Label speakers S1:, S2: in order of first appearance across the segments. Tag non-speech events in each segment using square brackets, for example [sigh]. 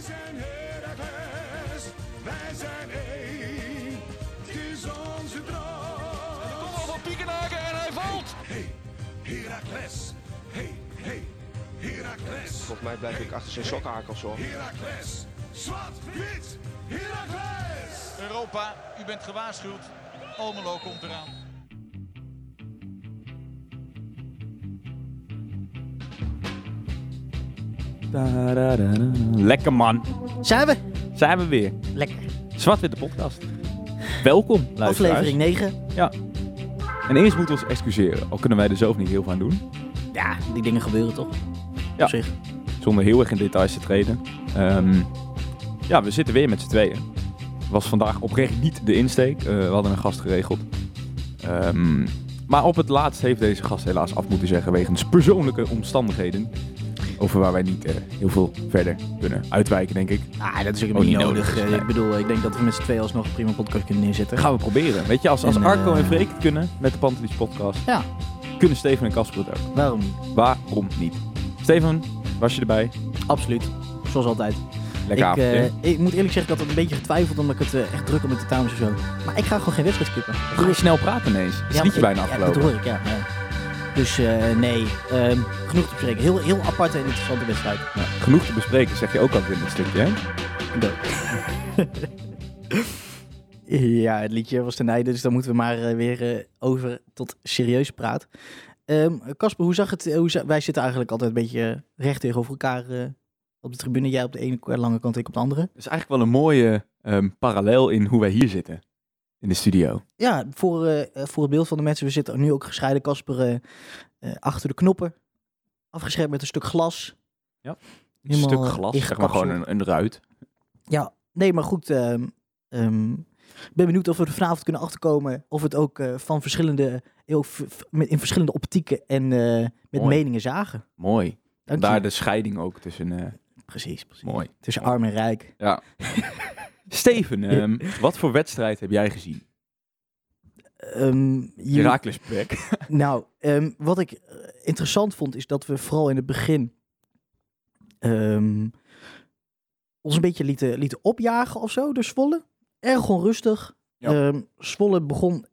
S1: zijn Heracles, wij zijn één. Het is onze droom.
S2: Kom van Piekenhaken en hij valt.
S1: Hey, Heracles. Hey, hey, Heracles.
S3: Volgens mij blijf ik achter zijn sokkenhaak of zo.
S1: Heracles. Zwart, wit, Heracles.
S2: Europa, u bent gewaarschuwd. Almelo komt eraan.
S4: Tadadada. Lekker man.
S5: Zijn we?
S4: Zijn we weer.
S5: Lekker.
S4: Zwart-witte podcast. Welkom, luisteraars.
S5: Aflevering 9.
S4: En eerst moeten we ons excuseren. Al kunnen wij er zelf niet heel veel aan doen.
S5: Ja, die dingen gebeuren toch?
S4: Ja.
S5: Op zich.
S4: Zonder heel erg in details te treden. Ehm, ja, we zitten weer met z'n tweeën. Was vandaag oprecht niet de insteek. Eh, we hadden een gast geregeld. Ehm, maar op het laatst heeft deze gast helaas af moeten zeggen wegens persoonlijke omstandigheden. Over waar wij niet eh, heel veel verder kunnen uitwijken, denk ik.
S5: Ah, dat is ook
S4: Ook
S5: helemaal niet
S4: niet
S5: nodig.
S4: nodig.
S5: Eh,
S4: Nee.
S5: Ik bedoel, ik denk dat we met z'n tweeën alsnog een prima podcast kunnen neerzetten.
S4: Dat gaan we proberen. Weet je, als, als
S5: En,
S4: Arco
S5: eh,
S4: en Freek het kunnen met de Pantelis podcast,
S5: Ja.
S4: kunnen Steven en Casper het ook.
S5: Waarom niet?
S4: Waarom niet? Steven, was je erbij?
S5: Absoluut. Zoals altijd.
S4: Lekker
S5: ik, eh,
S4: avondje.
S5: ik moet eerlijk zeggen, ik had het een beetje getwijfeld omdat ik het eh, echt druk had met de dames of zo. Maar ik ga gewoon geen wedstrijd skippen.
S4: We gaan snel praten ineens. Het is
S5: maar
S4: liedje bijna
S5: ik-
S4: afgelopen.
S5: Ja, dat hoor ik, ja. ja. Dus eh, nee, ehm, genoeg te bespreken. Heel, heel aparte en interessante wedstrijd.
S4: Nou, genoeg te bespreken, zeg je ook altijd in een stukje, hè?
S5: Ja, het liedje was te nijden, dus dan moeten we maar eh, weer eh, over tot serieus praat. Ehm, Casper, hoe zag het? eh, Hoe za- wij zitten eigenlijk altijd een beetje eh, recht tegenover elkaar eh, op de tribune. Jij op de ene lange kant, ik op de andere.
S4: Dat is eigenlijk wel een mooie ehm, parallel in hoe wij hier zitten. In de studio.
S5: Ja, voor, eh, eh, voor het beeld van de mensen, we zitten nu ook gescheiden. Casper eh, eh, achter de knoppen, afgeschermd met een stuk glas.
S4: Ja, Een
S5: Helemaal,
S4: stuk
S5: eh,
S4: glas, zeg maar
S5: ingekapseld.
S4: gewoon een, een ruit.
S5: Ja, nee, maar goed. ehm, ehm, ik ben benieuwd of we er vanavond kunnen achterkomen of we het ook eh, van verschillende, heel v- v- met- in verschillende optieken en eh, met
S4: Mooi.
S5: meningen zagen.
S4: Mooi.
S5: Dank
S4: Daar
S5: je.
S4: de scheiding ook tussen. eh,
S5: Precies, precies.
S4: mooi.
S5: Tussen arm en rijk.
S4: Steven, ehm, wat voor wedstrijd heb jij gezien?
S5: Ehm, je-
S4: Heracles Pek.
S5: nou, ehm, wat ik eh, interessant vond is dat we vooral in het begin ehm, ons een beetje lieten, lieten opjagen of zo door Zwolle. Erg onrustig.
S4: Ja.
S5: Ehm Zwolle begon, hoe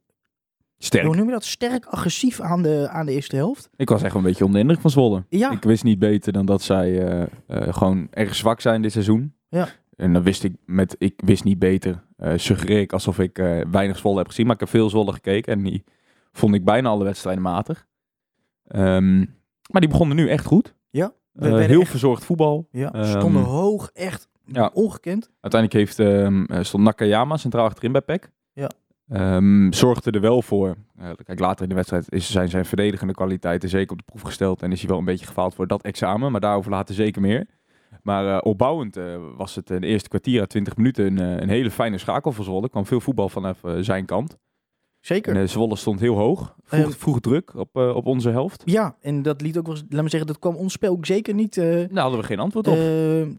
S4: Sterk.
S5: noem je dat, sterk agressief aan de, aan de eerste helft.
S4: Ik was echt wel een beetje onder de indruk van Zwolle.
S5: Ja,
S4: Ik wist niet beter dan dat zij eh, eh, gewoon erg zwak zijn dit seizoen.
S5: Ja.
S4: En dan wist ik met ik wist niet beter. eh suggereer ik alsof ik eh, weinig Zwolle heb gezien. Maar ik heb veel Zwolle gekeken. En die vond ik bijna alle wedstrijden matig. Ehm, maar die begonnen nu echt goed.
S5: Ja, we
S4: Eh,
S5: werden
S4: heel
S5: echt-
S4: verzorgd voetbal.
S5: Ja, ze
S4: Ehm,
S5: stonden hoog, echt
S4: ja.
S5: ongekend.
S4: Uiteindelijk heeft, ehm, eh, stond Nakayama centraal achterin bij PEC.
S5: Ja.
S4: Ehm, zorgde er wel voor. eh, kijk, later in de wedstrijd is, zijn zijn verdedigende kwaliteiten zeker op de proef gesteld. En is hij wel een beetje gefaald voor dat examen. Maar daarover later zeker meer. Maar eh, opbouwend eh, was het in de eerste kwartier à 20 minuten een, eh, een hele fijne schakel voor Zwolle. Er kwam veel voetbal vanaf eh, zijn kant.
S5: Zeker.
S4: En, eh, Zwolle stond heel hoog. Vroeg,
S5: Ehm.
S4: vroeg druk op, eh, op onze helft.
S5: ja, en dat liet ook wel, eens- laat me zeggen, dat kwam ons spel ook zeker niet eh,
S4: Daar hadden we geen antwoord op.
S5: eh,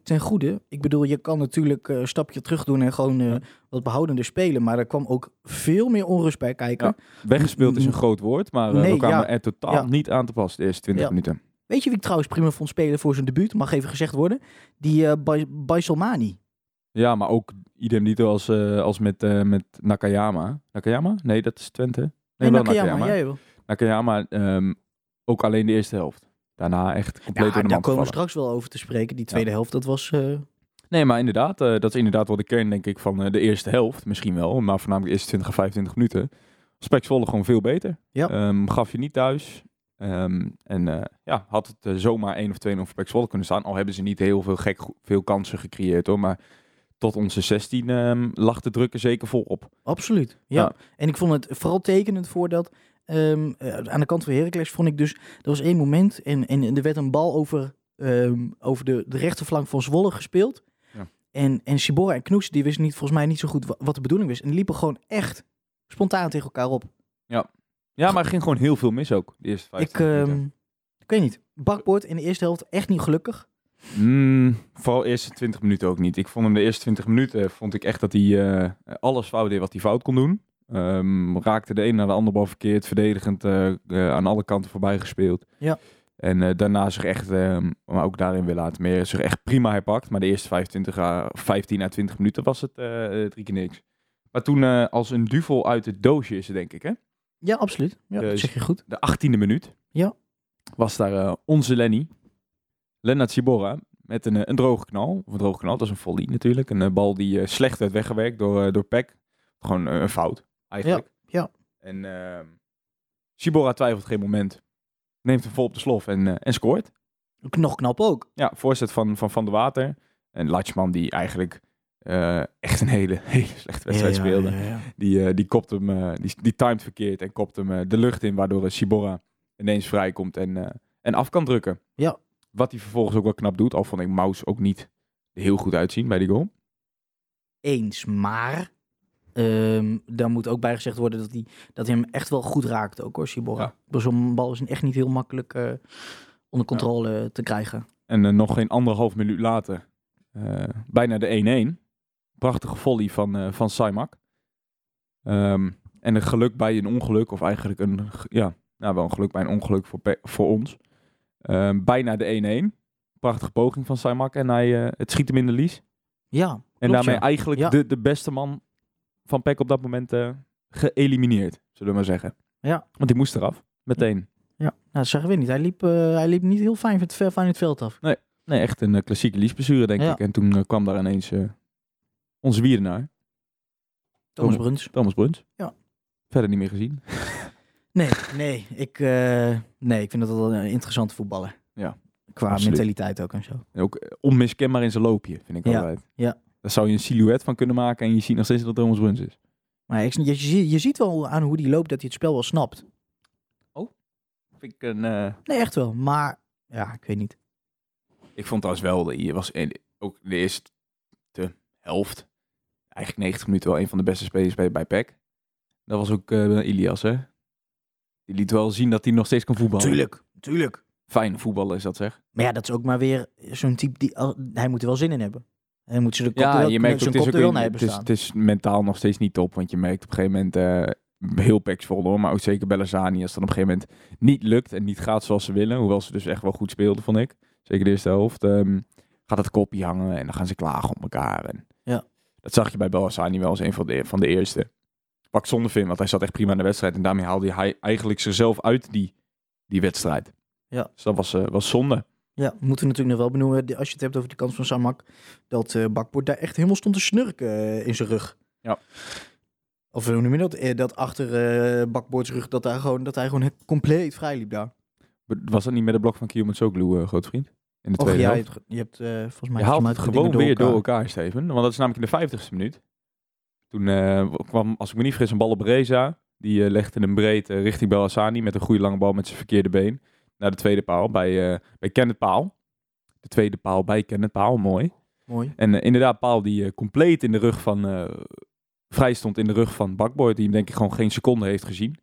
S5: ten goede. Ik bedoel, je kan natuurlijk eh, een stapje terug doen en gewoon eh, wat behoudender spelen. Maar er kwam ook veel meer onrust bij kijken.
S4: Ja. Weggespeeld is een groot woord. Maar eh,
S5: mm. Nee,
S4: we kwamen
S5: ja.
S4: er totaal
S5: Ja.
S4: niet aan te pas de eerste 20
S5: Ja.
S4: minuten.
S5: Weet je wie ik trouwens prima vond spelen voor zijn debuut? Mag even gezegd worden. Die eh Bai- Baisalmani.
S4: Ja, maar ook idem dito als, eh, als met, eh, met Nakayama. Nakayama? Nee, dat is Twente. Nee,
S5: En
S4: wel
S5: Nakayama, jij wel.
S4: Nakayama, ehm, ook alleen de eerste helft. Daarna echt compleet door
S5: Ja,
S4: de
S5: daar
S4: man
S5: komen we
S4: gevallen.
S5: straks wel over te spreken. Die tweede helft, dat was... eh,
S4: Nee, maar inderdaad, eh, dat is inderdaad wel de kern denk ik van eh, de eerste helft. Misschien wel, maar voornamelijk de eerste 20 à 25 minuten. Spek Zwolle gewoon veel beter.
S5: Ja.
S4: Ehm, gaf je niet thuis. Ehm, en eh, ja, had het eh, zomaar 1 of 2 voor Pek Zwolle kunnen staan. Al hebben ze niet heel veel gek go- veel kansen gecreëerd hoor. Maar tot onze 16 ehm, lag de druk er zeker vol op.
S5: Absoluut, ja.
S4: Ja.
S5: En ik vond het vooral tekenend voor dat... ehm, eh, aan de kant van Heracles vond ik dus... Er was één moment en, en, en er werd een bal over, ehm, over de, de rechterflank van Zwolle gespeeld.
S4: Ja.
S5: En, en Sibora en Knoes, die wisten niet, volgens mij niet zo goed wa- wat de bedoeling was. En die liepen gewoon echt spontaan tegen elkaar op.
S4: Ja, maar er ging gewoon heel veel mis ook, de eerste
S5: Ik,
S4: 15 minuten.
S5: ehm, ik weet niet. Bakboord in de eerste helft echt niet gelukkig.
S4: Mm, vooral de eerste 20 minuten ook niet. Ik vond hem de eerste 20 minuten, vond ik echt dat hij eh, alles fout deed wat hij fout kon doen. Ehm, raakte de een naar de andere bal verkeerd, verdedigend eh, eh, aan alle kanten voorbij gespeeld.
S5: Ja.
S4: En eh, daarna zich echt, ehm, maar ook daarin weer laten meer, zich echt prima herpakt. Maar de eerste 25 à, 15 à 20 minuten was het eh, eh, drie keer niks. Maar toen eh, als een duvel uit het doosje is, het, denk ik, hè?
S5: Ja, absoluut. Ja, dat
S4: Dus-
S5: zeg je goed.
S4: de 18e minuut.
S5: Ja.
S4: Was daar eh, onze Lenny. Lennart Ciborra. Met een, eh, een droge knal. Of een droge knal, dat is een volley natuurlijk. Een eh, bal die eh, slecht werd weggewerkt door, eh, door Peck. Gewoon eh, een fout, eigenlijk.
S5: ja.
S4: En ehm Ciborra twijfelt geen moment. Neemt hem vol op de slof en, eh, en scoort.
S5: Nog knap ook.
S4: Ja, voorzet van Van, van de Water. En Latchman die eigenlijk eh, echt een hele, [laughs] hele slechte wedstrijd
S5: Ja, ja,
S4: speelde.
S5: ja, ja.
S4: Die, eh, die kopt hem, eh, die, die timed verkeerd en kopt hem eh, de lucht in, waardoor eh, Sibora ineens vrijkomt en, eh, en af kan drukken.
S5: Ja.
S4: Wat hij vervolgens ook wel knap doet, al vond ik Maus ook niet heel goed uitzien bij die goal.
S5: Eens, maar ehm, daar moet ook bij gezegd worden dat hij, dat hij hem echt wel goed raakt ook hoor, Sibora. Zo'n bal is echt niet heel makkelijk eh, onder controle te krijgen.
S4: En eh, nog geen anderhalf minuut later, eh, bijna de 1-1. Prachtige volley van, eh van Saimak. Ehm, en een geluk bij een ongeluk, of eigenlijk een, g- ja, nou wel een geluk bij een ongeluk voor, Pe- voor ons. Ehm, bijna de 1-1. Prachtige poging van Saimak en hij, eh, het schiet hem in de lies.
S5: Ja, nou,
S4: En
S5: klopt,
S4: daarmee
S5: ja.
S4: eigenlijk
S5: Ja.
S4: de, de beste man van Peck op dat moment eh, geëlimineerd, zullen we maar zeggen.
S5: Ja.
S4: Want die moest eraf, meteen.
S5: ja. Nou, dat zeggen we niet. Hij liep, eh, hij liep niet heel fijn van het, fijn het veld af.
S4: Nee, echt een eh, klassieke liesblessure, denk
S5: Ja.
S4: ik. En toen eh, kwam daar ineens eh, onze wierenaar,
S5: Thomas Bruns.
S4: Thomas Bruns.
S5: Ja.
S4: Verder niet meer gezien.
S5: Nee, nee ik, eh, nee, ik vind dat wel een interessante voetballer.
S4: Ja,
S5: Qua
S4: absoluut.
S5: mentaliteit ook en zo.
S4: En ook eh, onmiskenbaar in zijn loopje, vind ik
S5: Ja,
S4: altijd.
S5: ja.
S4: Daar zou je een silhouet van kunnen maken en je ziet nog steeds dat het Thomas Bruns is.
S5: Maar ik, je, je, zie- je ziet wel aan hoe die loopt dat hij het spel wel snapt.
S4: Vind ik, een, eh,
S5: Nee, echt wel. Maar ja, ik weet niet.
S4: ik vond trouwens wel, dat hij was in- ook de eerste helft, eigenlijk 90 minuten wel een van de beste spelers bij, bij PEC. Dat was ook eh, Ilias, hè? Die liet wel zien dat hij nog steeds kan voetballen.
S5: Tuurlijk, tuurlijk.
S4: Fijn voetballen is dat, zeg.
S5: Maar ja, dat is ook maar weer zo'n type die... al- Hij moet er wel zin in hebben. Hij moet ze de kop er
S4: Ja,
S5: wel,
S4: je merkt
S5: zijn
S4: ook, het, is
S5: kop
S4: ook
S5: er wel
S4: weer-
S5: naar
S4: het,
S5: hebben
S4: is,
S5: staan.
S4: het is mentaal nog steeds niet top. Want je merkt op een gegeven moment, eh, heel peksvol hoor, maar ook zeker Bellazzani. Als het dan op een gegeven moment niet lukt en niet gaat zoals ze willen. Hoewel ze dus echt wel goed speelden, vond ik. Zeker de eerste helft. ehm, gaat het kopje hangen en dan gaan ze klagen op elkaar. En
S5: Ja.
S4: Dat zag je bij Bellazzani wel als een van de, van de eerste. Wat ik zonde vind, want hij zat echt prima in de wedstrijd. En daarmee haalde hij eigenlijk zichzelf uit die, die wedstrijd.
S5: Ja.
S4: Dus dat was, eh, was zonde.
S5: Ja, moeten we natuurlijk nog wel benoemen, die- als je het hebt over de kans van Samak, dat eh Bakboord daar echt helemaal stond te snurken eh, in zijn rug.
S4: Ja.
S5: Of hoe noem je dat? Eh, Dat achter eh Bakboords rug, dat, daar gewoon, dat hij gewoon he- compleet vrij liep daar.
S4: Was dat niet met de blok van Kiyomatsoglu, eh groot vriend? In de
S5: Och
S4: tweede
S5: ja, je
S4: helft?
S5: hebt, ge- je hebt eh, volgens mij...
S4: Je haalt
S5: volgens mij
S4: het
S5: de dingen
S4: gewoon weer door
S5: elkaar.
S4: elkaar, Steven. Want dat is namelijk in de 50ste minuut. Toen eh, kwam, als ik me niet vergis, een bal op Reza. Die eh, legde hem breed eh, richting Bellassani met een goede lange bal met zijn verkeerde been. Naar de tweede paal bij, eh bij Kenneth Paal. De tweede paal bij Kenneth Paal, mooi.
S5: Mooi.
S4: En eh, inderdaad, Paal die eh, compleet in de rug van... eh, vrij stond in de rug van Bakboy. Die hem denk ik gewoon geen seconde heeft gezien.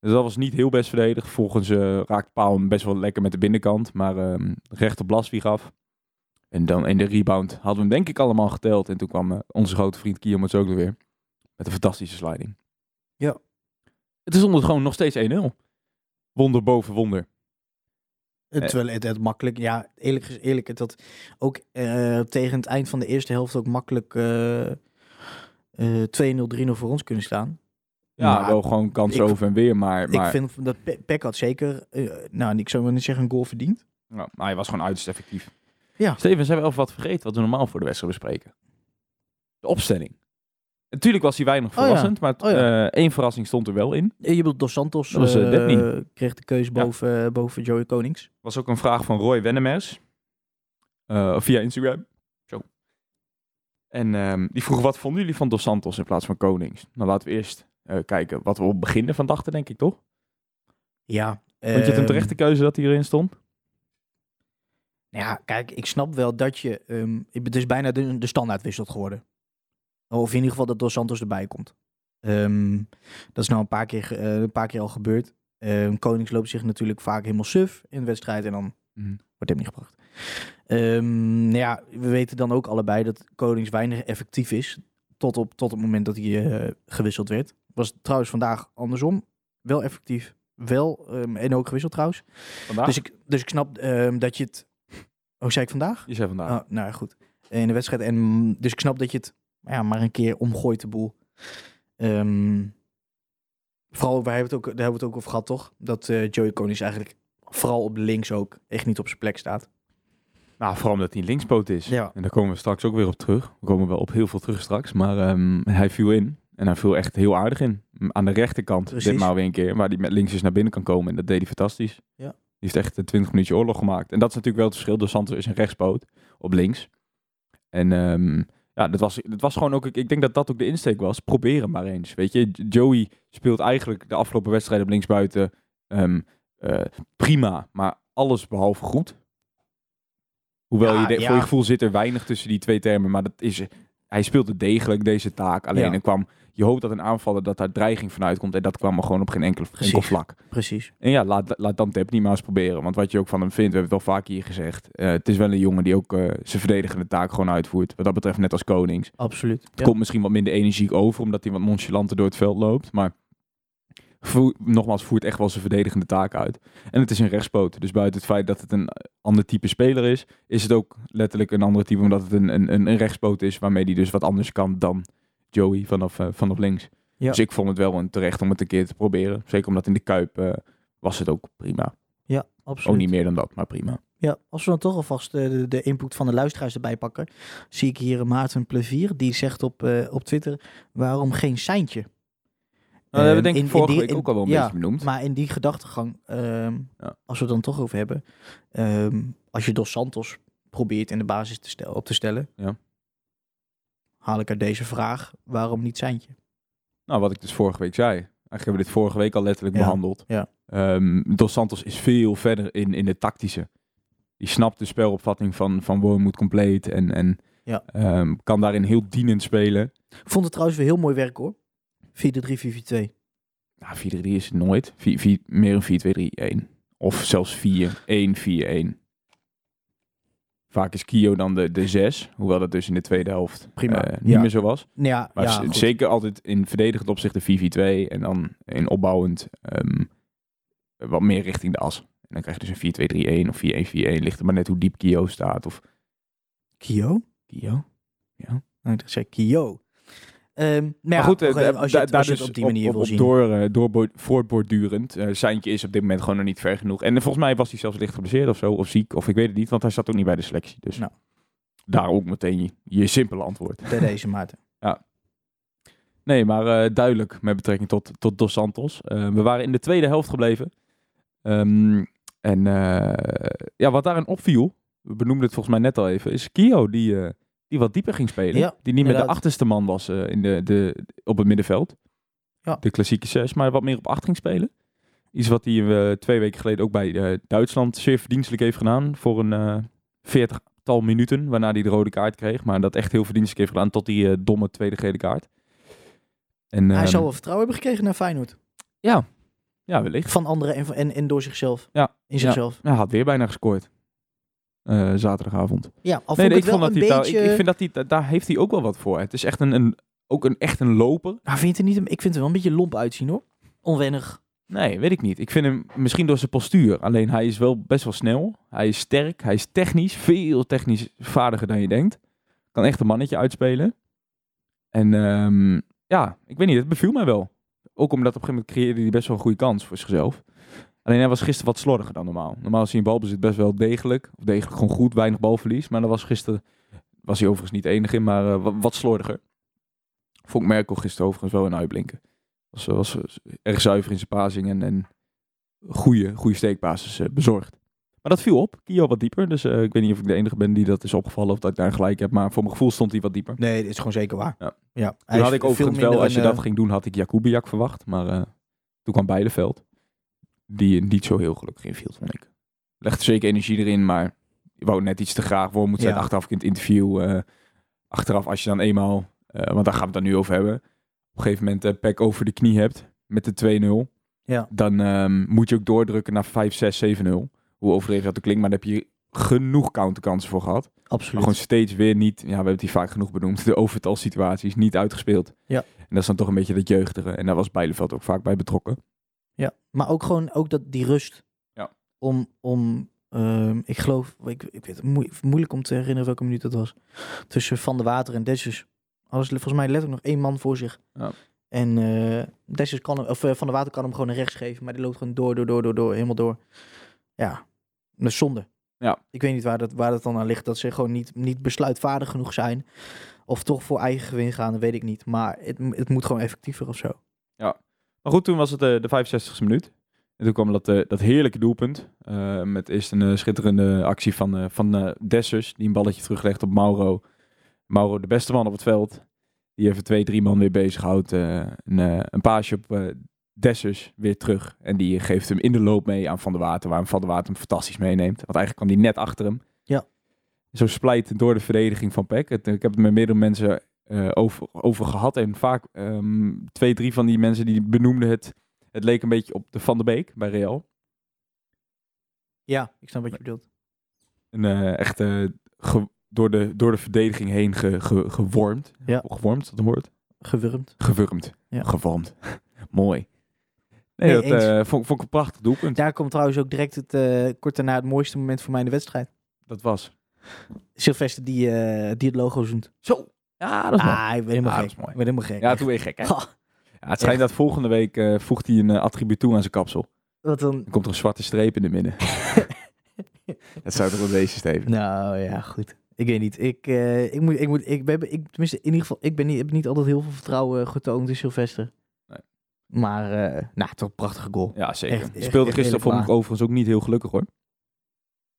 S4: Dus dat was niet heel best verdedigd. Volgens eh raakt Paal hem best wel lekker met de binnenkant. Maar ehm recht op Blaswieg af. En dan in de rebound hadden we hem denk ik allemaal geteld. En toen kwam eh, onze grote vriend Kiyomots ook weer. Met een fantastische sliding.
S5: Ja.
S4: Het is onder gewoon nog steeds 1-0. Wonder boven wonder.
S5: Eh,
S4: Eh.
S5: Terwijl het, het makkelijk, ja, eerlijk, gez- eerlijk het had ook eh, tegen het eind van de eerste helft ook makkelijk eh, eh, 2-0, 3-0 voor ons kunnen staan.
S4: Ja,
S5: Maar
S4: wel gewoon kansen
S5: ik-
S4: over en weer. Maar, maar,
S5: Ik vind dat Pe- Peck had zeker, eh, nou, ik zou maar niet zeggen een goal verdiend.
S4: ja, maar hij was gewoon uiterst effectief.
S5: Ja.
S4: Steven, zijn we even wat vergeten wat we normaal voor de wedstrijd bespreken? De opstelling. Natuurlijk was hij weinig
S5: ja.
S4: verrassend. Maar t-
S5: Oh ja.
S4: eh, één verrassing stond er wel in.
S5: Eh, Je bedoelt Dos Santos
S4: Dat was, eh,
S5: eh,
S4: Dabney.
S5: kreeg de keuze
S4: Ja.
S5: boven, eh, boven Joey Konings.
S4: was ook een vraag van Roy Wennemers. eh, via Instagram. Zo. En ehm, die vroeg, wat vonden jullie van Dos Santos in plaats van Konings? Nou, laten we eerst eh, kijken wat we op het begin ervan dachten, denk ik, toch?
S5: Ja.
S4: Vond je het
S5: Ehm,
S4: een terechte keuze dat hij erin stond?
S5: Nou Ja, kijk, ik snap wel dat je, ehm, het is bijna de, de standaard wisselt geworden. Of in ieder geval dat Dos Santos erbij komt. Ehm, dat is nou een paar keer, ge- eh, een paar keer al gebeurd. Ehm, Konings loopt zich natuurlijk vaak helemaal suf in de wedstrijd en dan
S4: Mhm.
S5: wordt hem niet gebracht. Ehm, nou ja, we weten dan ook allebei dat Konings weinig effectief is tot op tot het moment dat hij eh, gewisseld werd. Was trouwens vandaag andersom wel effectief, wel. ehm, en ook gewisseld trouwens.
S4: Vandaag?
S5: Dus, ik, dus ik snap ehm, dat je het... Oh, zei ik vandaag?
S4: je zei vandaag.
S5: Oh, nou ja, goed. In de wedstrijd. En, mm, dus ik snap dat je het ja, maar een keer omgooit de boel. Ehm, vooral, wij hebben het ook, daar hebben we het ook over gehad, toch? Dat eh Joey Konings eigenlijk vooral op links ook echt niet op zijn plek staat.
S4: Nou, vooral omdat hij een linkspoot is.
S5: Ja.
S4: En daar komen we straks ook weer op terug. We komen wel op heel veel terug straks. Maar ehm, hij viel in. En hij viel echt heel aardig in. M- Aan de rechterkant
S5: Precies.
S4: ditmaal weer een keer. Waar hij met links eens naar binnen kan komen. En dat deed hij fantastisch.
S5: Ja.
S4: Die heeft echt een 20 minuutje oorlog gemaakt. En dat is natuurlijk wel het verschil. Dus Santos is een rechtspoot op links. En ehm, ja, dat was, dat was gewoon ook... Ik denk dat dat ook de insteek was. Proberen maar eens. Weet je, Joey speelt eigenlijk de afgelopen wedstrijd op linksbuiten ehm, eh, prima. Maar alles behalve goed. Hoewel
S5: Ja,
S4: je de-
S5: ja.
S4: voor je gevoel zit er weinig tussen die twee termen. Maar dat is, hij speelde degelijk deze taak. Alleen
S5: Ja.
S4: er kwam, je hoopt dat een aanvaller dat daar dreiging vanuit komt. En dat kwam er gewoon op geen enkel, enkel
S5: Precies.
S4: vlak.
S5: Precies.
S4: En ja, laat, laat Dante niet maar eens proberen. Want wat je ook van hem vindt, we hebben het al vaak hier gezegd. eh, het is wel een jongen die ook eh, zijn verdedigende taak gewoon uitvoert. Wat dat betreft net als Konings.
S5: Absoluut.
S4: Het komt misschien wat minder energiek over, omdat hij wat nonchalanter door het veld loopt. Maar voer- nogmaals, voert echt wel zijn verdedigende taak uit. En het is een rechtspoot. Dus buiten het feit dat het een eh, ander type speler is, is het ook letterlijk een ander type, omdat het een, een, een een rechtspoot is waarmee hij dus wat anders kan dan Joey vanaf, eh, vanaf links.
S5: Ja.
S4: Dus ik vond het wel een terecht om het een keer te proberen. Zeker omdat in de Kuip eh, was het ook prima.
S5: Ja,
S4: Ook
S5: absoluut.
S4: niet meer dan dat, maar prima.
S5: Ja, als we dan toch alvast eh, de, de input van de luisteraars erbij pakken, zie ik hier Maarten Plevier, die zegt op, eh, op Twitter, waarom geen seintje?
S4: we hebben denk
S5: Ehm,
S4: ik
S5: in- in
S4: vorige
S5: die-
S4: week
S5: in-
S4: ook al wel een
S5: ja,
S4: beetje benoemd.
S5: Maar in die gedachtegang, ehm,
S4: Ja.
S5: als we het dan toch over hebben, ehm, als je Dos Santos probeert in de basis te stel- op te stellen,
S4: Ja.
S5: haal ik uit deze vraag, waarom niet Seintje?
S4: Nou, wat ik dus vorige week zei. Eigenlijk hebben we dit vorige week al letterlijk
S5: Ja,
S4: behandeld.
S5: ja.
S4: Ehm, Dos Santos is veel verder in, in het tactische. Die snapt de spelopvatting van, van Wormwood compleet. En, en
S5: Ja.
S4: ehm, kan daarin heel dienend spelen.
S5: Ik vond het trouwens weer heel mooi werk hoor. 4-3-4-4-2.
S4: Nou, 4-3 is het nooit. 4, 4, meer een 4-2-3-1. Of zelfs 4-1-4-1. Vaak is Kio dan de, de 6. Hoewel dat dus in de tweede helft
S5: Prima,
S4: eh, niet
S5: ja.
S4: meer zo was.
S5: Nou ja,
S4: Maar
S5: ja,
S4: z-
S5: goed.
S4: zeker altijd in verdedigend opzicht een 4-4-2 en dan in opbouwend ehm, wat meer richting de as. En dan krijg je dus een 4-2-3-1 of 4-1-4-1. Ligt er maar net hoe diep Kio staat. Of
S5: Kio?
S4: Kio? Maar,
S5: Nee, Nou, ik zei Kio. Ehm, maar, ja,
S4: goed, eh,
S5: oké,
S4: da-
S5: als je, het,
S4: daar
S5: als je het
S4: dus
S5: op die manier
S4: op,
S5: wil
S4: op
S5: zien.
S4: Door, eh, doorbo- voortbordurend. Eh Seintje is op dit moment gewoon nog niet ver genoeg. En eh, volgens mij was hij zelfs licht geblesseerd of zo. Of ziek, of ik weet het niet. Want hij zat ook niet bij de selectie. Dus
S5: Nou.
S4: daar ook meteen je, je simpele antwoord.
S5: Bij
S4: [laughs]
S5: deze Maarten.
S4: Nee, maar eh, duidelijk met betrekking tot, tot Dos Santos. Eh, we waren in de tweede helft gebleven. Ehm, en eh, ja, wat daarin opviel, we benoemden het volgens mij net al even, is Kio die, eh, die wat dieper ging spelen.
S5: Ja,
S4: die niet meer de
S5: inderdaad.
S4: achterste man was eh, in de, de, op het middenveld.
S5: Ja.
S4: De klassieke zes, maar wat meer op acht ging spelen. Iets wat hij eh, twee weken geleden ook bij eh, Duitsland zeer verdienstelijk heeft gedaan. Voor een eh, veertigtal tal minuten, waarna hij de rode kaart kreeg. Maar dat echt heel verdienstelijk heeft gedaan tot die eh, domme tweede gele kaart. En,
S5: Hij
S4: ehm,
S5: zal wel vertrouwen hebben gekregen naar Feyenoord.
S4: Ja, wellicht.
S5: Van anderen en, en, en door zichzelf.
S4: Ja,
S5: In zichzelf.
S4: Hij had weer bijna gescoord. Eh, zaterdagavond.
S5: Ja,
S4: Nee,
S5: al vond
S4: nee,
S5: ik wel een
S4: dat hij daar-
S5: beetje...
S4: ik, ik vind dat hij, da- daar heeft hij ook wel wat voor. Het is echt een, een, ook een, echt een loper.
S5: Maar vind je het niet, een- ik vind het wel een beetje lomp uitzien hoor. Onwennig.
S4: Nee, weet ik niet. Ik vind hem misschien door zijn postuur. Alleen hij is wel best wel snel. Hij is sterk. Hij is technisch. Veel technisch vaardiger dan je denkt. Kan echt een mannetje uitspelen. En ehm, ja, ik weet niet. Het beviel mij wel. Ook omdat op een gegeven moment creëerde hij best wel een goede kans voor zichzelf. Alleen hij was gisteren wat slordiger dan normaal. Normaal is hij in balbezit best wel degelijk. Of degelijk gewoon goed, weinig balverlies. Maar dat was gisteren, was hij overigens niet de enige in, maar eh, wa- wat slordiger. Vond ik Merkel gisteren overigens wel een uitblinken. Was, eh, was erg zuiver in zijn pasing en, en goede, goede steekbasis eh, bezorgd. Maar dat viel op. Kio wat dieper. Dus eh, ik weet niet of ik de enige ben die dat is opgevallen of dat ik daar gelijk heb. Maar voor mijn gevoel stond hij wat dieper.
S5: Nee, dat is gewoon zeker waar.
S4: Ja.
S5: ja hij
S4: Toen
S5: is
S4: had ik
S5: veel
S4: overigens
S5: minder
S4: wel, als je
S5: een,
S4: dat
S5: eh,
S4: ging doen, had ik Jakubiak verwacht. Maar eh, toen kwam Beideveld. Die niet zo heel gelukkig inviel, vond ik. Legde zeker energie erin, maar je wou net iets te graag. Waarom moet zijn
S5: Ja.
S4: achteraf in het interview? eh, achteraf, als je dan eenmaal, eh, want daar gaan we het dan nu over hebben. Op een gegeven moment eh pek over de knie hebt met de 2-0.
S5: Ja.
S4: Dan ehm, moet je ook doordrukken naar 5, 6, 7-0. Hoe overdreven dat ook klinkt, maar daar heb je genoeg counterkansen voor gehad. Maar
S5: Absoluut.
S4: gewoon steeds weer niet, ja, we hebben het hier vaak genoeg benoemd, [laughs] de overtal situaties niet uitgespeeld.
S5: Ja.
S4: En dat is dan toch een beetje dat jeugdige. En daar was Bijleveld ook vaak bij betrokken.
S5: Ja, maar ook gewoon ook dat, die rust.
S4: Ja.
S5: Om, om ehm, ik geloof, ik, ik weet het moe- moeilijk om te herinneren welke minuut dat was. Tussen Van de Water en Dessus. Alles volgens mij letterlijk nog één man voor zich.
S4: Ja.
S5: En eh Dessus kan hem, of eh, Van de Water kan hem gewoon naar rechts geven. Maar die loopt gewoon door, door, door, door, door, helemaal door. Ja, dat is zonde.
S4: Ja.
S5: Ik weet niet waar dat, waar dat dan aan ligt. Dat ze gewoon niet, niet besluitvaardig genoeg zijn. Of toch voor eigen gewin gaan, dat weet ik niet. Maar het, het moet gewoon effectiever of zo.
S4: Maar goed, toen was het eh, de 65e minuut. En toen kwam dat, eh, dat heerlijke doelpunt. eh, met eerst een eh, schitterende actie van, eh van eh, Dessers. Die een balletje teruglegt op Mauro. Mauro, de beste man op het veld. Die even twee, drie man weer bezighoudt. eh een, eh, een paasje op eh Dessers weer terug. En die geeft hem in de loop mee aan Van der Water. Waar Van der Water hem fantastisch meeneemt. Want eigenlijk kwam die net achter hem.
S5: Ja.
S4: Zo splijt door de verdediging van Peck. Het- Ik heb het met meerdere mensen eh, over, over gehad. En vaak ehm, twee, drie van die mensen die benoemden het. Het leek een beetje op de Van der Beek bij Real.
S5: Ja, ik snap wat je bedoelt.
S4: Een, eh, echt eh, ge- door, de, door de verdediging heen ge, ge- gewormd.
S5: Ja.
S4: Gewormd, is dat een woord?
S5: Gewurmd.
S4: Gewurmd.
S5: Ja.
S4: Gevormd. [laughs] Mooi. Nee,
S5: Nee,
S4: dat
S5: eens.
S4: eh, vond, vond ik een prachtig doelpunt.
S5: Daar komt trouwens ook direct het, eh, kort daarna het mooiste moment voor mij in de wedstrijd.
S4: Dat was.
S5: Sylvester die, eh, die het logo zoent. Zo.
S4: Ja, dat
S5: Ah, ik ben helemaal
S4: Ah,
S5: gek.
S4: dat is mooi.
S5: Ik ben helemaal gek.
S4: Ja,
S5: Echt.
S4: toen weer
S5: [laughs]
S4: gek. Hè?
S5: Ha,
S4: Ja, het schijnt dat volgende week eh, voegt hij een eh, attribuut toe aan zijn kapsel.
S5: wat dan?
S4: Dan komt er een zwarte streep in de
S5: [laughs]
S4: midden. dat zou toch wel deze steven.
S5: Nou ja, goed. Ik weet niet. Ik, eh, ik moet, ik moet, ik ben, ik, tenminste, in ieder geval, ik ben niet, heb niet altijd heel veel vertrouwen eh, getoond in Sylvester.
S4: Nee.
S5: Maar, eh, nou, toch een prachtige goal.
S4: Ja, zeker.
S5: Echt, echt,
S4: speelde
S5: echt
S4: gisteren
S5: redelijk
S4: vond ik overigens ook niet heel gelukkig hoor.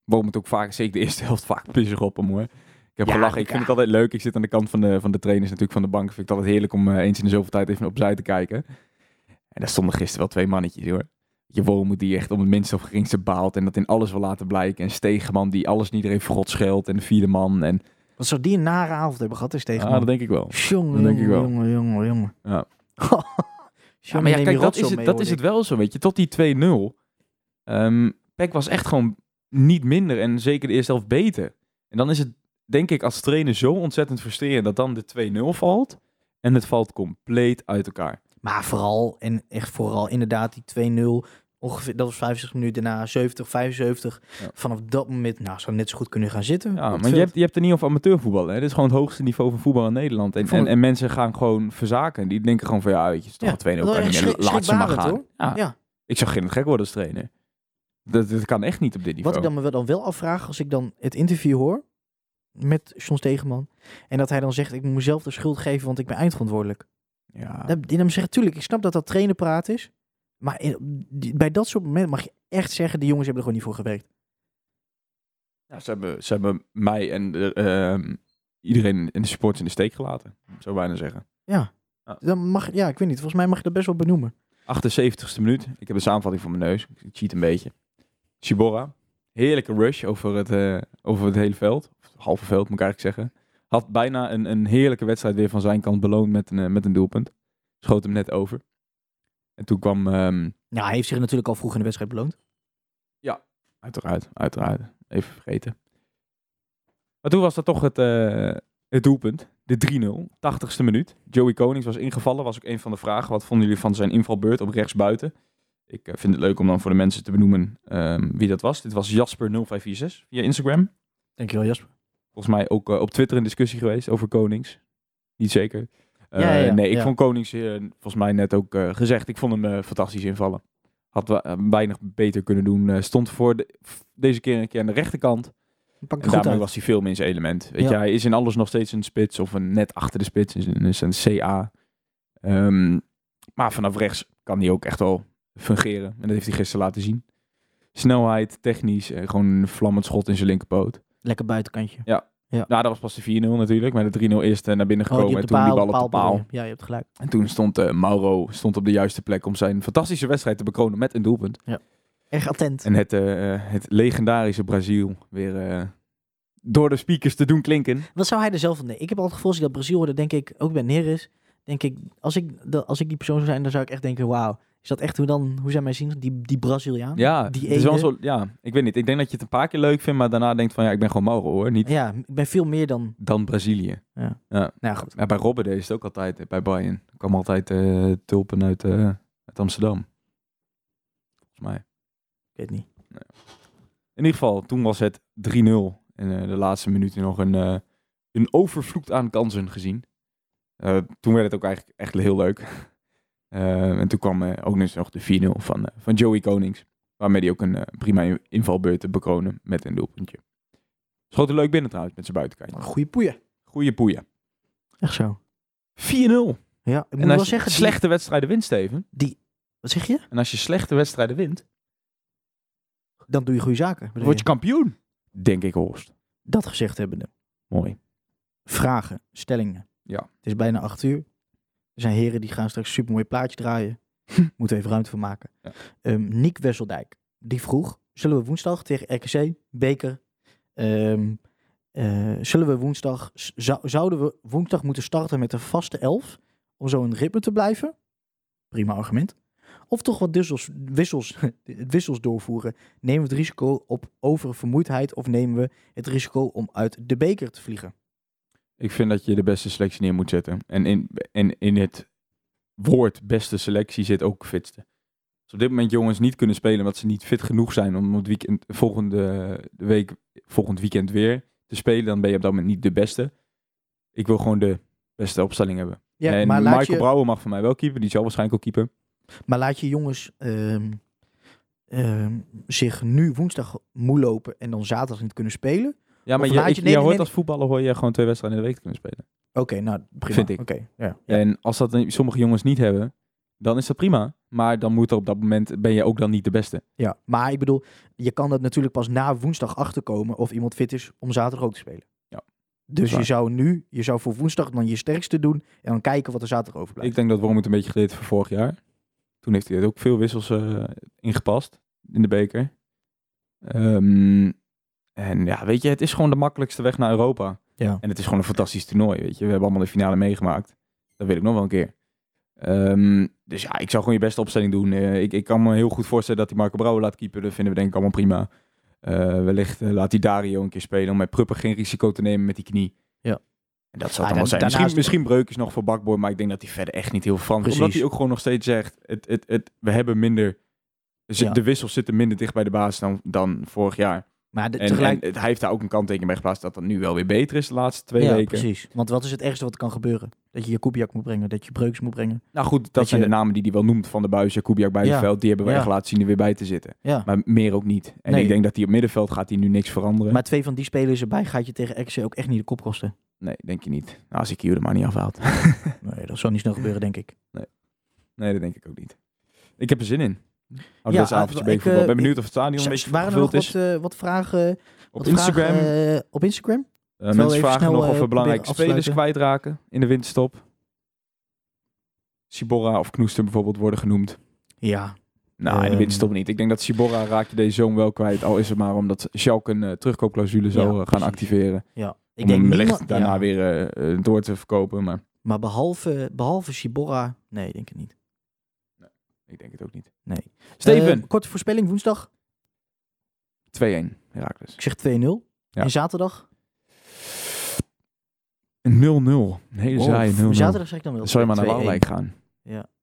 S4: Waarom het ook vaak, zeker de eerste helft, vaak pissig op hem hoor. Ik heb
S5: Ja,
S4: gelachen. Ik
S5: ja.
S4: vind het altijd leuk. Ik zit aan de kant van de, van de trainers natuurlijk, van de bank. Vind ik het altijd heerlijk om eh, eens in de zoveel tijd even opzij te kijken. En daar stonden gisteren wel twee mannetjes hoor. Je moet die echt om het minst of geringste baalt. En dat in alles wil laten blijken. En Stegeman die alles en iedereen vergot scheldt. En de vierde man. En
S5: Wat zou die een nare avond hebben gehad is tegen
S4: ah, dat denk ik wel.
S5: Jongen,
S4: dat denk ik
S5: jongen,
S4: wel.
S5: jongen, jongen, [laughs] jongen.
S4: Ja. Ja,
S5: Jongen,
S4: maar ja,
S5: neem
S4: kijk,
S5: je
S4: dat is,
S5: rotzooi
S4: het,
S5: mee,
S4: dat
S5: hoor,
S4: is
S5: dit.
S4: het wel zo, weet je. Tot die 2-0. Ehm Peck was echt gewoon niet minder en zeker de eerste helft beter. En dan is het, denk ik, als trainer zo ontzettend frustrerend dat dan de 2-0 valt. En het valt compleet uit elkaar.
S5: Maar vooral, en echt vooral inderdaad die 2-0, ongeveer, dat was 65 minuten daarna, 70, 75.
S4: Ja.
S5: Vanaf dat moment, nou, zou net zo goed kunnen gaan zitten. op
S4: Ja,
S5: het
S4: maar je
S5: veld.
S4: hebt, je hebt het niet over amateurvoetbal. Hè? Dit is gewoon het hoogste niveau van voetbal in Nederland. En,
S5: Ik vond
S4: en,
S5: het-
S4: en mensen gaan gewoon verzaken. Die denken gewoon van, ja, weet je, het is
S5: Ja,
S4: toch een 2-0.
S5: wel
S4: Kan
S5: echt
S4: niet,
S5: schrik-
S4: laat ze maar
S5: schrikbarend,
S4: gaan.
S5: hoor.
S4: Ja.
S5: Ja.
S4: Ik zou geen gek worden als trainer. Dat, dat kan echt niet op dit
S5: Wat
S4: niveau.
S5: ik dan me wel- dan wel afvraag, als ik dan het interview hoor met John Stegeman, en dat hij dan zegt, ik moet mezelf de schuld geven, want ik ben eindverantwoordelijk.
S4: Ja.
S5: Dat- Die dan zegt, tuurlijk, ik snap dat dat trainerpraat is, maar in- die- bij dat soort momenten mag je echt zeggen, die jongens hebben er gewoon niet voor gewerkt.
S4: Ja, ze hebben, ze hebben mij en eh, ehm, iedereen in de supports in de steek gelaten, zou ik bijna zeggen.
S5: Dan mag, ja, ik weet niet, volgens mij mag je dat best wel benoemen.
S4: 78ste minuut. Ik heb een samenvatting van mijn neus. Ik cheat een beetje. Shibora. Heerlijke rush over het, eh, over het hele veld. Of het halve veld, moet ik eigenlijk zeggen. Had bijna een, een heerlijke wedstrijd weer van zijn kant beloond met een, eh, met een doelpunt. Schoot hem net over. En toen kwam... ehm,
S5: Nou, hij heeft zich natuurlijk al vroeg in de wedstrijd beloond.
S4: Uiteraard, uiteraard. Even vergeten. Maar toen was dat toch het, eh, het doelpunt. De 3-0, 80ste minuut. Joey Konings was ingevallen, was ook een van de vragen. Wat vonden jullie van zijn invalbeurt op rechtsbuiten? Ik eh, vind het leuk om dan voor de mensen te benoemen ehm, wie dat was. Dit was Jasper0546 via Instagram.
S5: Dankjewel, Jasper.
S4: Volgens mij ook eh, op Twitter een discussie geweest over Konings. Niet zeker. Eh,
S5: Ja, ja, ja,
S4: nee, ik
S5: ja.
S4: vond Konings, eh, volgens mij net ook eh, gezegd, ik vond hem eh, fantastisch invallen. Had we- eh, weinig beter kunnen doen. Eh, stond voor de- f- deze keer een keer aan de rechterkant.
S5: Pak
S4: En
S5: het goed
S4: daarmee
S5: uit.
S4: was hij veel meer in zijn element. Weet
S5: Ja.
S4: je, hij is in alles nog steeds een spits of een net achter de spits. Is een, is een CA. Ehm, maar vanaf rechts kan hij ook echt wel fungeren. En dat heeft hij gisteren laten zien. Snelheid, technisch, eh, gewoon een vlammend schot in zijn linkerpoot.
S5: Lekker buitenkantje. Oh,
S4: Nou, dat was pas de 4-0 natuurlijk. Maar de 3-0 eerst eh, naar binnen
S5: Oh,
S4: gekomen. en toen die bal op de paal.
S5: bedoel je. Ja, je hebt gelijk.
S4: En toen stond eh, Mauro stond op de juiste plek om zijn fantastische wedstrijd te bekronen met een doelpunt.
S5: Erg attent.
S4: En het, eh, eh, het legendarische Brazil weer eh, door de speakers te doen klinken.
S5: Wat zou hij er zelf van denken? Ik heb al het gevoel, als ik dat Brazil hoorde, denk ik, ook bij Neres, denk ik, als ik, dat- als ik die persoon zou zijn, dan zou ik echt denken, wauw, is dat echt hoe dan, hoe zij mij zien, die, die Braziliaan?
S4: Oh, Ja,
S5: Die
S4: het is wel een
S5: ene.
S4: soort- ja, ik weet niet. Ik denk dat je het een paar keer leuk vindt, maar daarna denkt van ja, ik ben gewoon Mauro hoor. Niet
S5: Ja, ik ben veel meer dan,
S4: dan Brazilië.
S5: nou ja, goed.
S4: Maar bij Robben deed ze het ook altijd. eh, Bij Bayern. Er kwam altijd eh, tulpen uit, eh, uit Amsterdam. volgens mij.
S5: Ik weet niet.
S4: In ieder geval, toen was het 3-0. En eh, de laatste minuten nog een, eh, een overvloed aan kansen gezien. Eh, toen werd het ook eigenlijk echt heel leuk. [laughs] Eh, en toen kwam eh, ook dus nog de 4-0 van, eh, van Joey Konings. Waarmee hij ook een eh, prima in- invalbeurt bekronen met een doelpuntje. Schoot er leuk binnen trouwens met zijn buitenkantje.
S5: Goeie poeien.
S4: Goeie poeia. 4-0.
S5: Echt zo.
S4: En
S5: Ja, ik moet
S4: als
S5: wel
S4: je
S5: zeggen... die-
S4: slechte wedstrijden wint, Steven.
S5: Wat zeg je?
S4: En als je slechte wedstrijden wint,
S5: Dan doe je goede zaken. bedoel
S4: word je
S5: je.
S4: kampioen. Denk ik, Horst.
S5: Dat gezegd hebbende.
S4: Mooi.
S5: Vragen, stellingen.
S4: Ja.
S5: Het is bijna acht uur. Er zijn heren die gaan straks een supermooi plaatje
S4: [laughs]
S5: draaien. Moeten we even ruimte voor maken.
S4: Ja.
S5: Ehm, Niek Wesseldijk. Die vroeg, zullen we woensdag tegen RKC, Beker... ehm, eh, zullen we woensdag, z- zou- zouden we woensdag moeten starten met een vaste elf om zo in ritme te blijven? Prima argument. Of toch wat wissels, wissels, [laughs] wissels doorvoeren. Nemen we het risico op oververmoeidheid of nemen we het risico om uit de beker te vliegen?
S4: Ik vind dat je de beste selectie neer moet zetten. En in, en in het woord beste selectie zit ook fitste. Als op dit moment jongens niet kunnen spelen omdat ze niet fit genoeg zijn om het weekend, volgende week, volgend weekend weer te spelen, dan ben je op dat moment niet de beste. Ik wil gewoon de beste opstelling hebben. en Michael Brouwer mag van mij wel keeper, die zal waarschijnlijk ook keeper.
S5: Maar laat je jongens ehm, ehm, zich nu woensdag moe lopen en dan zaterdag niet kunnen spelen.
S4: Ja, maar
S5: Of
S4: je,
S5: laat
S4: ik-
S5: je- nee,
S4: je
S5: nee,
S4: hoort
S5: nee.
S4: als voetballer hoor je gewoon twee wedstrijden in de week te kunnen spelen.
S5: Oké, nou prima.
S4: Vind ik.
S5: Oké, ja.
S4: En als dat sommige jongens niet hebben, dan is dat prima. Maar dan moet er op dat moment, ben je ook dan niet de beste.
S5: ja. Maar ik bedoel, je kan dat natuurlijk pas na woensdag achterkomen of iemand fit is om zaterdag ook te spelen.
S4: Ja.
S5: Dus je
S4: Waar.
S5: zou nu, je zou voor woensdag dan je sterkste doen en dan kijken wat er zaterdag overblijft.
S4: Ik denk dat Worm het een beetje geleerd heeft van vorig jaar. Toen heeft hij er ook veel wissels eh, ingepast in de beker. Ehm, en ja, weet je, het is gewoon de makkelijkste weg naar Europa.
S5: Ja.
S4: En het is gewoon een fantastisch toernooi, weet je. We hebben allemaal de finale meegemaakt. Dat wil ik nog wel een keer. Ehm, dus ja, ik zou gewoon je beste opstelling doen. Eh, ik, ik kan me heel goed voorstellen dat hij Marco Brouwer laat keeper. Dat vinden we denk ik allemaal prima. Eh, wellicht eh, laat hij Dario een keer spelen om met Prupper geen risico te nemen met die knie.
S5: Ja.
S4: En dat zou
S5: Ah,
S4: het allemaal
S5: dan-
S4: zijn. Misschien,
S5: daarnaast-
S4: misschien breuk is nog voor Bakboy, maar ik denk dat hij verder echt niet heel verandert. Omdat
S5: Precies.
S4: hij ook gewoon nog steeds zegt, het, het, het, we hebben minder... dus
S5: Ja.
S4: De wissels zitten minder dicht bij de baas dan, dan vorig jaar.
S5: maar de-
S4: En,
S5: tegelijk...
S4: en het- hij heeft daar ook een kanttekening bij geplaatst dat dat nu wel weer beter is de laatste twee
S5: ja,
S4: weken.
S5: precies. Want wat is het ergste wat er kan gebeuren? Dat je je koebiak moet brengen, dat je breuks moet brengen.
S4: Nou goed, dat,
S5: Dat
S4: zijn
S5: je-
S4: de namen die hij wel noemt. Van de Buizen, Kubiak bij het
S5: Ja.
S4: veld. Die hebben we
S5: Ja.
S4: echt laten zien er weer bij te zitten.
S5: Ja.
S4: Maar meer ook niet. En
S5: Nee.
S4: ik denk dat hij op middenveld gaat hij nu niks veranderen.
S5: Maar twee van die spelers erbij gaat je tegen RKC ook echt niet de kop kosten.
S4: Nee, denk je niet. Nou, als ik hier er maar niet afhaalt. [laughs]
S5: Nee, dat zal niet snel gebeuren, denk ik.
S4: nee, dat denk ik ook niet. Ik heb er zin in. Oh,
S5: Ja,
S4: dat is avondje
S5: ik,
S4: bekervoetbal.
S5: eh,
S4: ben benieuwd of het stadion een
S5: Z-
S4: beetje
S5: waren er nog
S4: gevuld
S5: wat,
S4: is.
S5: eh, wat vragen
S4: Op
S5: wat vragen,
S4: Instagram. eh,
S5: eh, op Instagram? terwijl we
S4: mensen
S5: even
S4: vragen
S5: snel,
S4: nog
S5: eh,
S4: of we belangrijke
S5: proberen af te
S4: spelers kwijtraken in de winterstop. Sibora of Knoester bijvoorbeeld worden genoemd.
S5: Ja.
S4: Nou, in de
S5: Ehm.
S4: winterstop niet. Ik denk dat Sibora raak je deze zoon wel kwijt. Al is het maar omdat Schalke een eh, terugkoopclausule zou
S5: Ja,
S4: eh, gaan
S5: precies.
S4: activeren.
S5: ja. Ik
S4: Ik om hem
S5: denk
S4: wellicht
S5: niemand-
S4: daarna
S5: ja.
S4: weer eh, eh, door te verkopen. Maar
S5: Maar behalve, behalve Shibora, nee, ik denk ik niet. Eh,
S4: ik denk het ook niet.
S5: Nee.
S4: Steven,
S5: Eh, korte voorspelling woensdag.
S4: 2-1 Herakles.
S5: Ik zeg 2-0.
S4: Ja.
S5: En zaterdag?
S4: 0-0. Een hele
S5: Oh,
S4: saaie 0-0.
S5: zaterdag zeg ik dan wel.
S4: Zou je maar naar
S5: 2-1.
S4: Waalwijk gaan.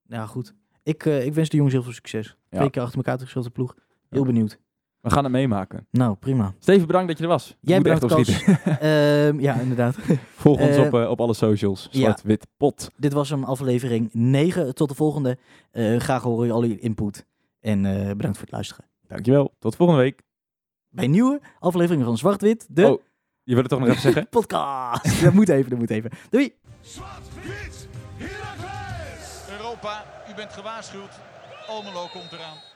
S5: Nou goed. Ik, eh, ik wens de jongens heel veel succes.
S4: Ja.
S5: Twee keer achter elkaar teruggespeelde ploeg. Heel benieuwd.
S4: We gaan het meemaken.
S5: Nou, prima.
S4: [laughs] Steven, bedankt dat je er was. Je
S5: Jij
S4: moet
S5: bedankt,
S4: echt opschieten.
S5: Cas. Ehm, ja, inderdaad.
S4: Volg ons
S5: Eh,
S4: op, eh, op alle socials.
S5: ja.
S4: Zwart, wit, pot.
S5: Dit was hem, aflevering 9. Tot de volgende. Eh, graag horen al je input. En eh, bedankt voor het luisteren.
S4: Dankjewel. Tot volgende week.
S5: Bij nieuwe afleveringen van Zwart-Wit, de
S4: Oh, je wil het toch nog even [laughs] zeggen?
S5: podcast. [laughs] dat moet even, dat moet even. Doei!
S1: Zwart-wit, Heracles!
S2: Europa, u bent gewaarschuwd. Almelo komt eraan.